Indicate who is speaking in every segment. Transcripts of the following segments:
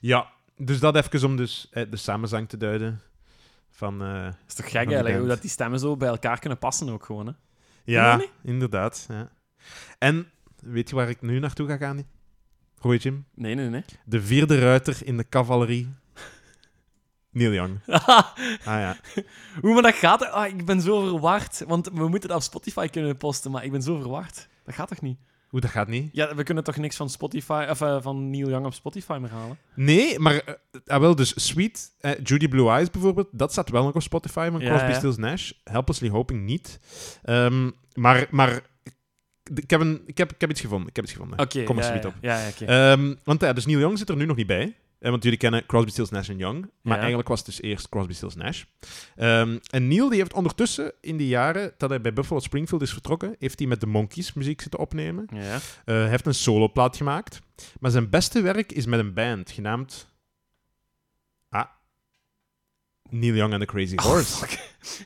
Speaker 1: Ja, dus dat even om dus, eh, de samenzang te duiden. Van, eh,
Speaker 2: Dat is
Speaker 1: Van
Speaker 2: toch gek
Speaker 1: die
Speaker 2: eigenlijk, hoe
Speaker 1: band.
Speaker 2: dat die stemmen zo bij elkaar kunnen passen ook gewoon. Hè?
Speaker 1: ja,
Speaker 2: dat
Speaker 1: inderdaad. Ja. En weet je waar ik nu naartoe ga gaan? Hoi Jim.
Speaker 2: Nee, nee, nee.
Speaker 1: De vierde ruiter in de cavalerie. Neil Young. Ah ja.
Speaker 2: hoe maar dat gaat... Ah, ik ben zo verward, want we moeten dat op Spotify kunnen posten, maar ik ben zo verward. Dat gaat toch niet?
Speaker 1: Hoe dat gaat niet?
Speaker 2: Ja, we kunnen toch niks van Spotify, of, eh, van Neil Young op Spotify meer halen?
Speaker 1: Nee, maar eh, ah, wel, dus Sweet, eh, Judy Blue Eyes bijvoorbeeld, dat staat wel nog op Spotify van
Speaker 2: Ja,
Speaker 1: Crosby,
Speaker 2: ja.
Speaker 1: Stills, Nash. Helplessly Hoping niet. Ehm, maar maar ik, heb een, ik, heb, ik heb iets gevonden. Ik heb iets gevonden.
Speaker 2: Oké,
Speaker 1: Kom er
Speaker 2: ja,
Speaker 1: zoiets
Speaker 2: ja.
Speaker 1: op.
Speaker 2: Ja, ja, oké.
Speaker 1: Ehm, want ja, dus Neil Young zit er nu nog niet bij. Eh, want jullie kennen Crosby, Stills, Nash en Young. Maar
Speaker 2: Ja.
Speaker 1: eigenlijk was het dus eerst Crosby, Stills, Nash. Ehm, en Neil die heeft ondertussen in die jaren dat hij bij Buffalo Springfield is vertrokken, heeft hij met de Monkeys muziek zitten opnemen.
Speaker 2: Ja, ja.
Speaker 1: Eh, Hij heeft een soloplaat gemaakt. Maar zijn beste werk is met een band genaamd... Ah. Neil Young and the Crazy Horse.
Speaker 2: Oh, fuck.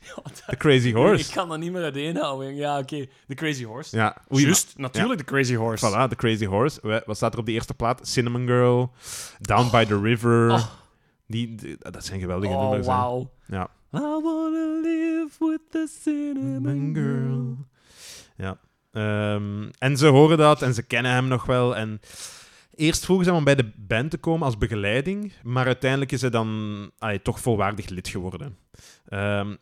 Speaker 2: Ja, dat-
Speaker 1: the Crazy
Speaker 2: Ik
Speaker 1: Horse.
Speaker 2: kan dat niet meer uiteenhouden. Ja, oké. The Crazy Horse.
Speaker 1: Ja, oei, nou,
Speaker 2: Juist, natuurlijk The Crazy Horse.
Speaker 1: Voilà, The Crazy Horse. We- Wat staat er op de eerste plaat? Cinnamon Girl, Down by the River.
Speaker 2: Oh.
Speaker 1: Die, die- ah, dat zijn geweldige
Speaker 2: Oh,
Speaker 1: nummers. hè.
Speaker 2: wauw.
Speaker 1: Ja.
Speaker 2: I wanna live with the cinnamon
Speaker 1: Cinnamon
Speaker 2: girl.
Speaker 1: Girl. Ja. Ehm, en ze horen dat en ze kennen hem nog wel. En eerst vroegen ze hem om bij de band te komen als begeleiding, maar uiteindelijk is hij dan allee, toch volwaardig lid geworden. Ehm,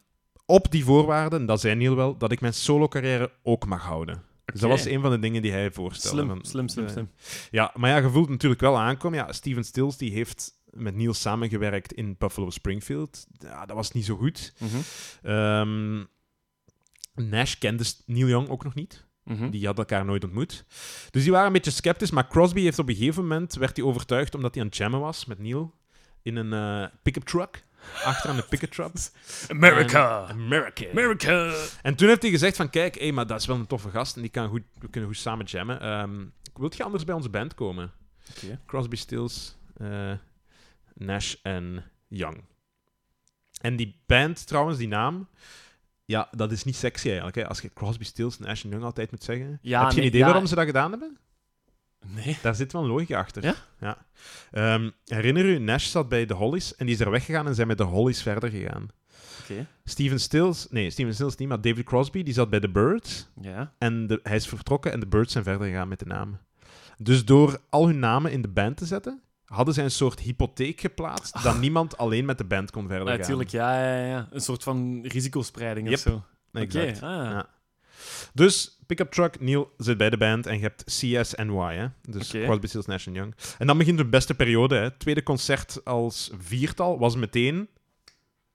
Speaker 1: op die voorwaarden, en dat zei Neil wel, dat ik mijn solo-carrière ook mag houden. Dus dat
Speaker 2: Oké.
Speaker 1: was een van de dingen die hij voorstelde.
Speaker 2: Slim,
Speaker 1: Van-
Speaker 2: slim, slim,
Speaker 1: eh,
Speaker 2: slim.
Speaker 1: Ja, maar ja, je voelt natuurlijk wel aankomen. Ja, Steven Stills die heeft met Neil samengewerkt in Buffalo Springfield. Ja, dat was niet zo goed.
Speaker 2: Mhm,
Speaker 1: Ehm, Nash kende S- Neil Young ook nog niet.
Speaker 2: mhm.
Speaker 1: Die hadden elkaar nooit ontmoet. Dus die waren een beetje sceptisch. Maar Crosby heeft op een gegeven moment werd hij overtuigd omdat hij aan het jammen was met Neil in een eh, pick-up truck. Achter aan de pick-up truck.
Speaker 2: America!
Speaker 1: En- America.
Speaker 2: America!
Speaker 1: En toen heeft hij gezegd van, kijk, hé, maar dat is wel een toffe gast en die kan goed, we kunnen goed samen jammen. Ehm wilt je anders bij onze band komen?
Speaker 2: Oké.
Speaker 1: Crosby, Stills, eh, Nash en Young. En die band trouwens, die naam, ja, dat is niet sexy eigenlijk. Hè? Als je Crosby, Stills, Nash en Young altijd moet zeggen.
Speaker 2: Ja,
Speaker 1: Heb je
Speaker 2: nee,
Speaker 1: een idee
Speaker 2: ja.
Speaker 1: waarom ze dat gedaan hebben?
Speaker 2: Nee.
Speaker 1: Daar zit wel een logica achter.
Speaker 2: Ja?
Speaker 1: Ehm, herinner u, Nash zat bij de Hollies en die is er weggegaan en zijn met de Hollies verder gegaan.
Speaker 2: Oké.
Speaker 1: Steven Stills, nee, Steven Stills niet, maar David Crosby, die zat bij de Birds.
Speaker 2: Ja.
Speaker 1: En de- hij is vertrokken en de Birds zijn verder gegaan met de namen. Dus door al hun namen in de band te zetten, hadden zij een soort hypotheek geplaatst dat niemand alleen met de band kon verder gaan.
Speaker 2: Natuurlijk, Ah. ja, ja, ja. Een soort van risicospreiding
Speaker 1: Yep.
Speaker 2: of zo. Oké,
Speaker 1: Exact.
Speaker 2: ah.
Speaker 1: Ja. Dus Pickup Truck, Neil zit bij de band en je hebt CSNY, hè? dus
Speaker 2: Oké.
Speaker 1: Crosby, Stills, Nash Young. En dan begint de beste periode. Hè? Tweede concert als viertal was meteen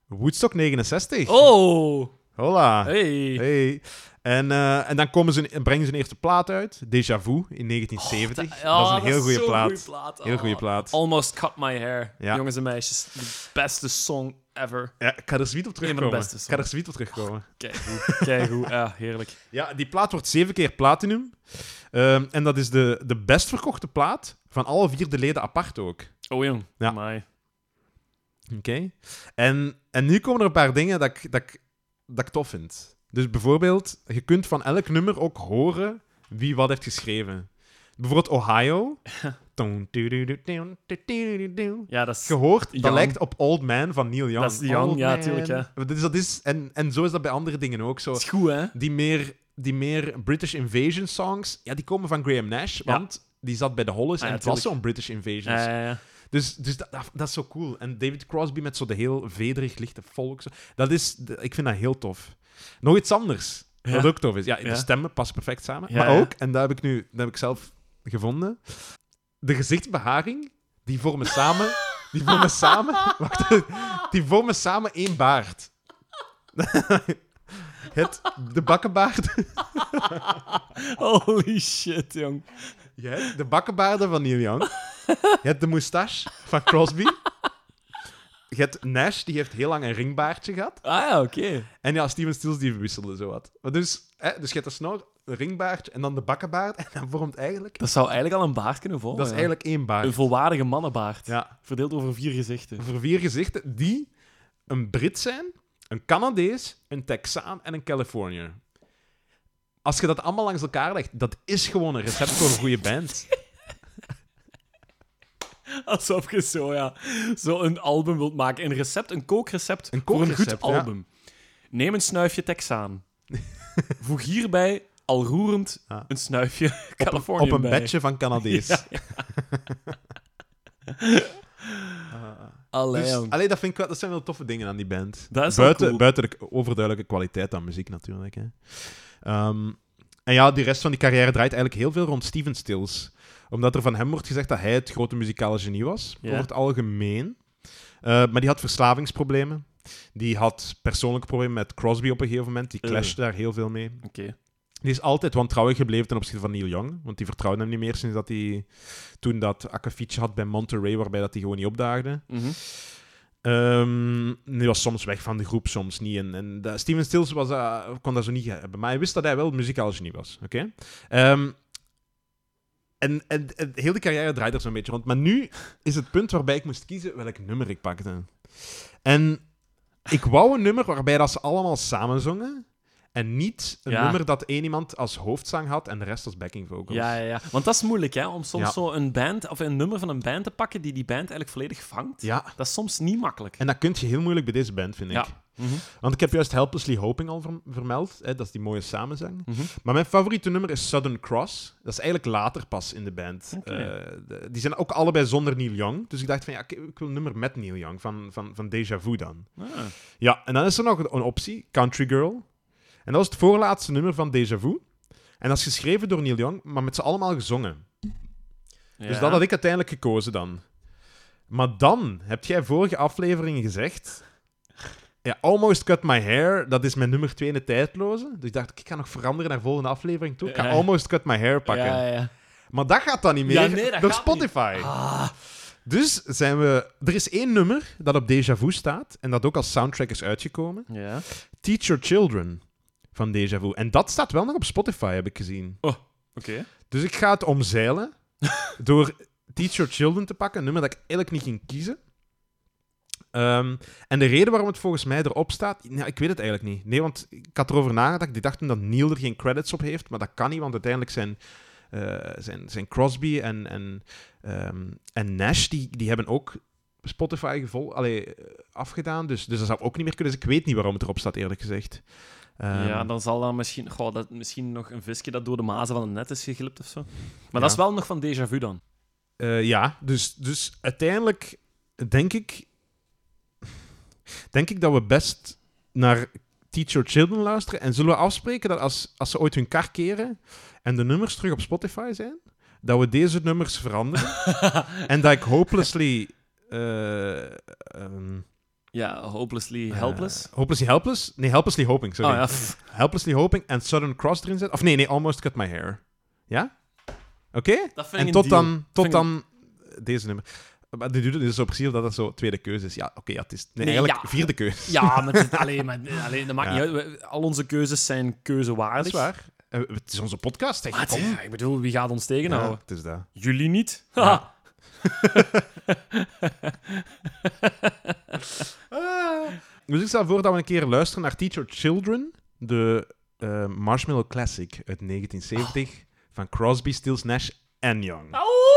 Speaker 1: Woodstock 69.
Speaker 2: Oh!
Speaker 1: Hola.
Speaker 2: Hey!
Speaker 1: Hey. En, eh, en dan komen ze, en brengen ze een eerste plaat uit, Deja Vu, in 1970.
Speaker 2: Oh,
Speaker 1: dat is een heel goede
Speaker 2: zo'n
Speaker 1: plaat.
Speaker 2: goeie plaat.
Speaker 1: Heel goede
Speaker 2: Oh.
Speaker 1: plaat.
Speaker 2: Almost Cut My Hair.
Speaker 1: Ja.
Speaker 2: Jongens en meisjes, de beste song ever.
Speaker 1: Ja, ik ga er zoiets op
Speaker 2: Een van de
Speaker 1: terugkomen.
Speaker 2: beste Ah.
Speaker 1: Ik ga er zoiets op terugkomen.
Speaker 2: Keigoed, keigoed. Ja, heerlijk.
Speaker 1: Ja, die plaat wordt zeven keer platinum. Ehm, en dat is de, de best verkochte plaat van alle vier de leden apart ook.
Speaker 2: Oh jong,
Speaker 1: Ja.
Speaker 2: Amai.
Speaker 1: Oké. En, en nu komen er een paar dingen dat ik, dat, ik, dat ik tof vind. Dus bijvoorbeeld, je kunt van elk nummer ook horen wie wat heeft geschreven. Bijvoorbeeld Ohio. Toon, toedoedoe, toon, toedoedoe.
Speaker 2: Ja, dat is...
Speaker 1: Je hoort, dat
Speaker 2: Young.
Speaker 1: lijkt op Old Man van Neil Young.
Speaker 2: Dat is die Young,
Speaker 1: Old
Speaker 2: ja,
Speaker 1: Man.
Speaker 2: tuurlijk, ja.
Speaker 1: Dus dat is, en, en zo is dat bij andere dingen ook zo.
Speaker 2: dat is goed, hè?
Speaker 1: Die meer, die meer British Invasion songs, ja, die komen van Graham Nash,
Speaker 2: Ja. Ah,
Speaker 1: want die zat bij de Hollies
Speaker 2: Ja,
Speaker 1: en het was
Speaker 2: tuurlijk. Eh,
Speaker 1: zo'n British Invasion
Speaker 2: Ja, ja, ja.
Speaker 1: dus, dus dat, dat, dat is zo cool. En David Crosby met zo de heel vederig lichte volk. zo. Dat is, d- ik vind dat heel tof. Nog iets anders,
Speaker 2: Ja.
Speaker 1: wat ook tof is. Ja, de
Speaker 2: Ja.
Speaker 1: stemmen passen perfect samen.
Speaker 2: Ja,
Speaker 1: maar
Speaker 2: ja.
Speaker 1: ook, en dat heb ik nu dat heb ik zelf gevonden, de gezichtsbeharing, die vormen samen... Die vormen samen... Wacht, die vormen samen één baard. Het, de bakkenbaard...
Speaker 2: Holy shit, jong.
Speaker 1: Je hebt de bakkenbaarden van Neil Young. Je hebt de moustache van Crosby. Je hebt Nash, die heeft heel lang een ringbaardje gehad.
Speaker 2: Ah ja, oké.
Speaker 1: En ja, Steven Stills, die wisselde zo wat. Maar dus, hè, dus je hebt de snor, een ringbaardje en dan de bakkenbaard. En dat vormt eigenlijk...
Speaker 2: Dat zou eigenlijk al een baard kunnen volgen.
Speaker 1: dat is
Speaker 2: ja.
Speaker 1: eigenlijk één
Speaker 2: Een
Speaker 1: baard.
Speaker 2: volwaardige mannenbaard.
Speaker 1: Ja.
Speaker 2: Verdeeld over vier gezichten.
Speaker 1: Voor vier gezichten die een Brit zijn, een Canadees, een Texaan en een Californiër. Als je dat allemaal langs elkaar legt, dat is gewoon een recept voor een goede band.
Speaker 2: Alsof je zo, ja, zo een album wilt maken. Een recept, een kookrecept
Speaker 1: Een
Speaker 2: voor een goed
Speaker 1: kookrecept, ja.
Speaker 2: album. Neem een snuifje Texaan. Voeg hierbij al roerend
Speaker 1: Ja.
Speaker 2: een snuifje Californië
Speaker 1: Op een
Speaker 2: bij.
Speaker 1: bedje van Canadees.
Speaker 2: Ja,
Speaker 1: Ah.
Speaker 2: Allee,
Speaker 1: Dus,
Speaker 2: jong.
Speaker 1: allee, dat, vind ik, wel- dat zijn wel toffe dingen aan die band.
Speaker 2: Dat is wel
Speaker 1: buiten,
Speaker 2: cool.
Speaker 1: buiten de overduidelijke kwaliteit aan muziek natuurlijk. Hè. Ehm, en ja, die rest van die carrière draait eigenlijk heel veel rond Steven Stills. Omdat er van hem wordt gezegd dat hij het grote muzikale genie was,
Speaker 2: Ja.
Speaker 1: over het algemeen. Eh, maar die had verslavingsproblemen. Die had persoonlijke problemen met Crosby op een gegeven moment. Die
Speaker 2: Eh.
Speaker 1: clashte daar heel veel mee.
Speaker 2: Oké.
Speaker 1: Die is altijd wantrouwig gebleven ten opzichte van Neil Young. Want die vertrouwde hem niet meer sinds dat hij toen dat akkefietje had bij Monterey, waarbij dat hij gewoon niet opdaagde.
Speaker 2: Mhm.
Speaker 1: Ehm die was soms weg van de groep, soms niet. En, en dat- Steven Stills was, eh, kon dat zo niet hebben. Maar hij wist dat hij wel muzikaal genie was. oké? Ehm, en, en, en heel de carrière draait er zo'n beetje rond. Maar nu is het punt waarbij ik moest kiezen welk nummer ik pakte. En ik wou een nummer waarbij dat ze allemaal samen zongen. En niet een
Speaker 2: Ja.
Speaker 1: nummer dat één iemand als hoofdzang had en de rest als backing vocals.
Speaker 2: Ja, ja, ja. Want dat is moeilijk, hè? Om soms
Speaker 1: Ja.
Speaker 2: zo een band of een nummer van een band te pakken die die band eigenlijk volledig vangt.
Speaker 1: Ja,
Speaker 2: Dat is soms niet makkelijk.
Speaker 1: En dat kun je heel moeilijk bij deze band, vind ik.
Speaker 2: Ja. Mhm.
Speaker 1: Want ik heb juist Helplessly Hoping al ver- vermeld. Hè, dat is die mooie samenzang.
Speaker 2: Mhm.
Speaker 1: Maar mijn favoriete nummer is Southern Cross. Dat is eigenlijk later pas in de band.
Speaker 2: Oké.
Speaker 1: Eh, de- die zijn ook allebei zonder Neil Young. Dus ik dacht van, ja, ik, ik wil een nummer met Neil Young. Van, van, van Deja Vu dan.
Speaker 2: Ah.
Speaker 1: Ja, en dan is er nog een optie. Country Girl. En dat was het voorlaatste nummer van Deja Vu. En dat is geschreven door Neil Young, maar met z'n allemaal gezongen. Dus
Speaker 2: Ja.
Speaker 1: dat had ik uiteindelijk gekozen dan. Maar dan heb jij vorige aflevering gezegd. Ja, Almost Cut My Hair, dat is mijn nummer 2 in de tijdloze. Dus ik dacht, ik ga nog veranderen naar volgende aflevering toe. Ik ga
Speaker 2: Ja.
Speaker 1: Almost Cut My Hair pakken.
Speaker 2: Ja, ja, ja.
Speaker 1: Maar dat gaat dan niet meer
Speaker 2: Ja, nee, dat
Speaker 1: door
Speaker 2: gaat niet.
Speaker 1: Spotify.
Speaker 2: Ah.
Speaker 1: Dus zijn we... Er is één nummer dat op Deja Vu staat en dat ook als soundtrack is uitgekomen.
Speaker 2: Ja.
Speaker 1: Teach Your Children van Deja Vu. En dat staat wel nog op Spotify, heb ik gezien.
Speaker 2: Oh, Oké.
Speaker 1: Dus ik ga het omzeilen door Teach Your Children te pakken, een nummer dat ik eigenlijk niet ging kiezen. Ehm, en de reden waarom het volgens mij erop staat, nou, ik weet het eigenlijk niet. Nee, want ik had erover nagedacht. Ik dacht toen dat Neil er geen credits op heeft, maar dat kan niet, want uiteindelijk zijn, eh, zijn, zijn Crosby en, en, ehm, en Nash, die, die hebben ook Spotify gevol, allee, eh, afgedaan. Dus, dus dat zou ook niet meer kunnen. Dus ik weet niet waarom het erop staat, eerlijk gezegd. Ehm,
Speaker 2: ja, dan zal daar misschien, goh, dat, misschien nog een visje dat door de mazen van het net is geglipt of zo. Maar dat is
Speaker 1: Ja.
Speaker 2: wel nog van déjà vu dan.
Speaker 1: Eh, ja, dus, dus uiteindelijk denk ik, denk ik dat we best naar Teach Your Children luisteren. En zullen we afspreken dat als, als ze ooit hun kar keren en de nummers terug op Spotify zijn, dat we deze nummers veranderen. en dat ik hopelessly... eh, ehm,
Speaker 2: Ja, hopelessly
Speaker 1: eh,
Speaker 2: helpless.
Speaker 1: hopelessly helpless? Nee, helplessly hoping, sorry.
Speaker 2: oh ja, pff.
Speaker 1: Helplessly hoping en Southern Cross erin zetten. Of nee, nee, almost cut my hair. Ja? Oké?
Speaker 2: dat vind ik
Speaker 1: En
Speaker 2: een
Speaker 1: tot
Speaker 2: deal.
Speaker 1: dan, tot
Speaker 2: Vind ik-
Speaker 1: dan deze nummer. Maar dit doet het dus zo precies dat dat zo tweede keuze is. Ja, oké, ja, het is nee,
Speaker 2: Nee,
Speaker 1: eigenlijk
Speaker 2: ja.
Speaker 1: vierde keuze.
Speaker 2: Ja, maar, het- alleen, maar alleen, dat maakt
Speaker 1: Ja.
Speaker 2: niet uit. We- Al onze keuzes zijn keuzewaardig.
Speaker 1: Dat is waar. Eh, Het is onze podcast, zeg.
Speaker 2: Maar het-
Speaker 1: Kom.
Speaker 2: ja, nou. ik bedoel, wie gaat ons
Speaker 1: Ja,
Speaker 2: tegenhouden?
Speaker 1: het is dat.
Speaker 2: Jullie niet.
Speaker 1: Ja.
Speaker 2: Haha.
Speaker 1: Dus ik stel voor dat we een keer luisteren naar Teach Your Children, de
Speaker 2: Oh.
Speaker 1: eh, Marshmallow Classic uit 1970 van Crosby, Stills, Nash en Young.
Speaker 2: Auw!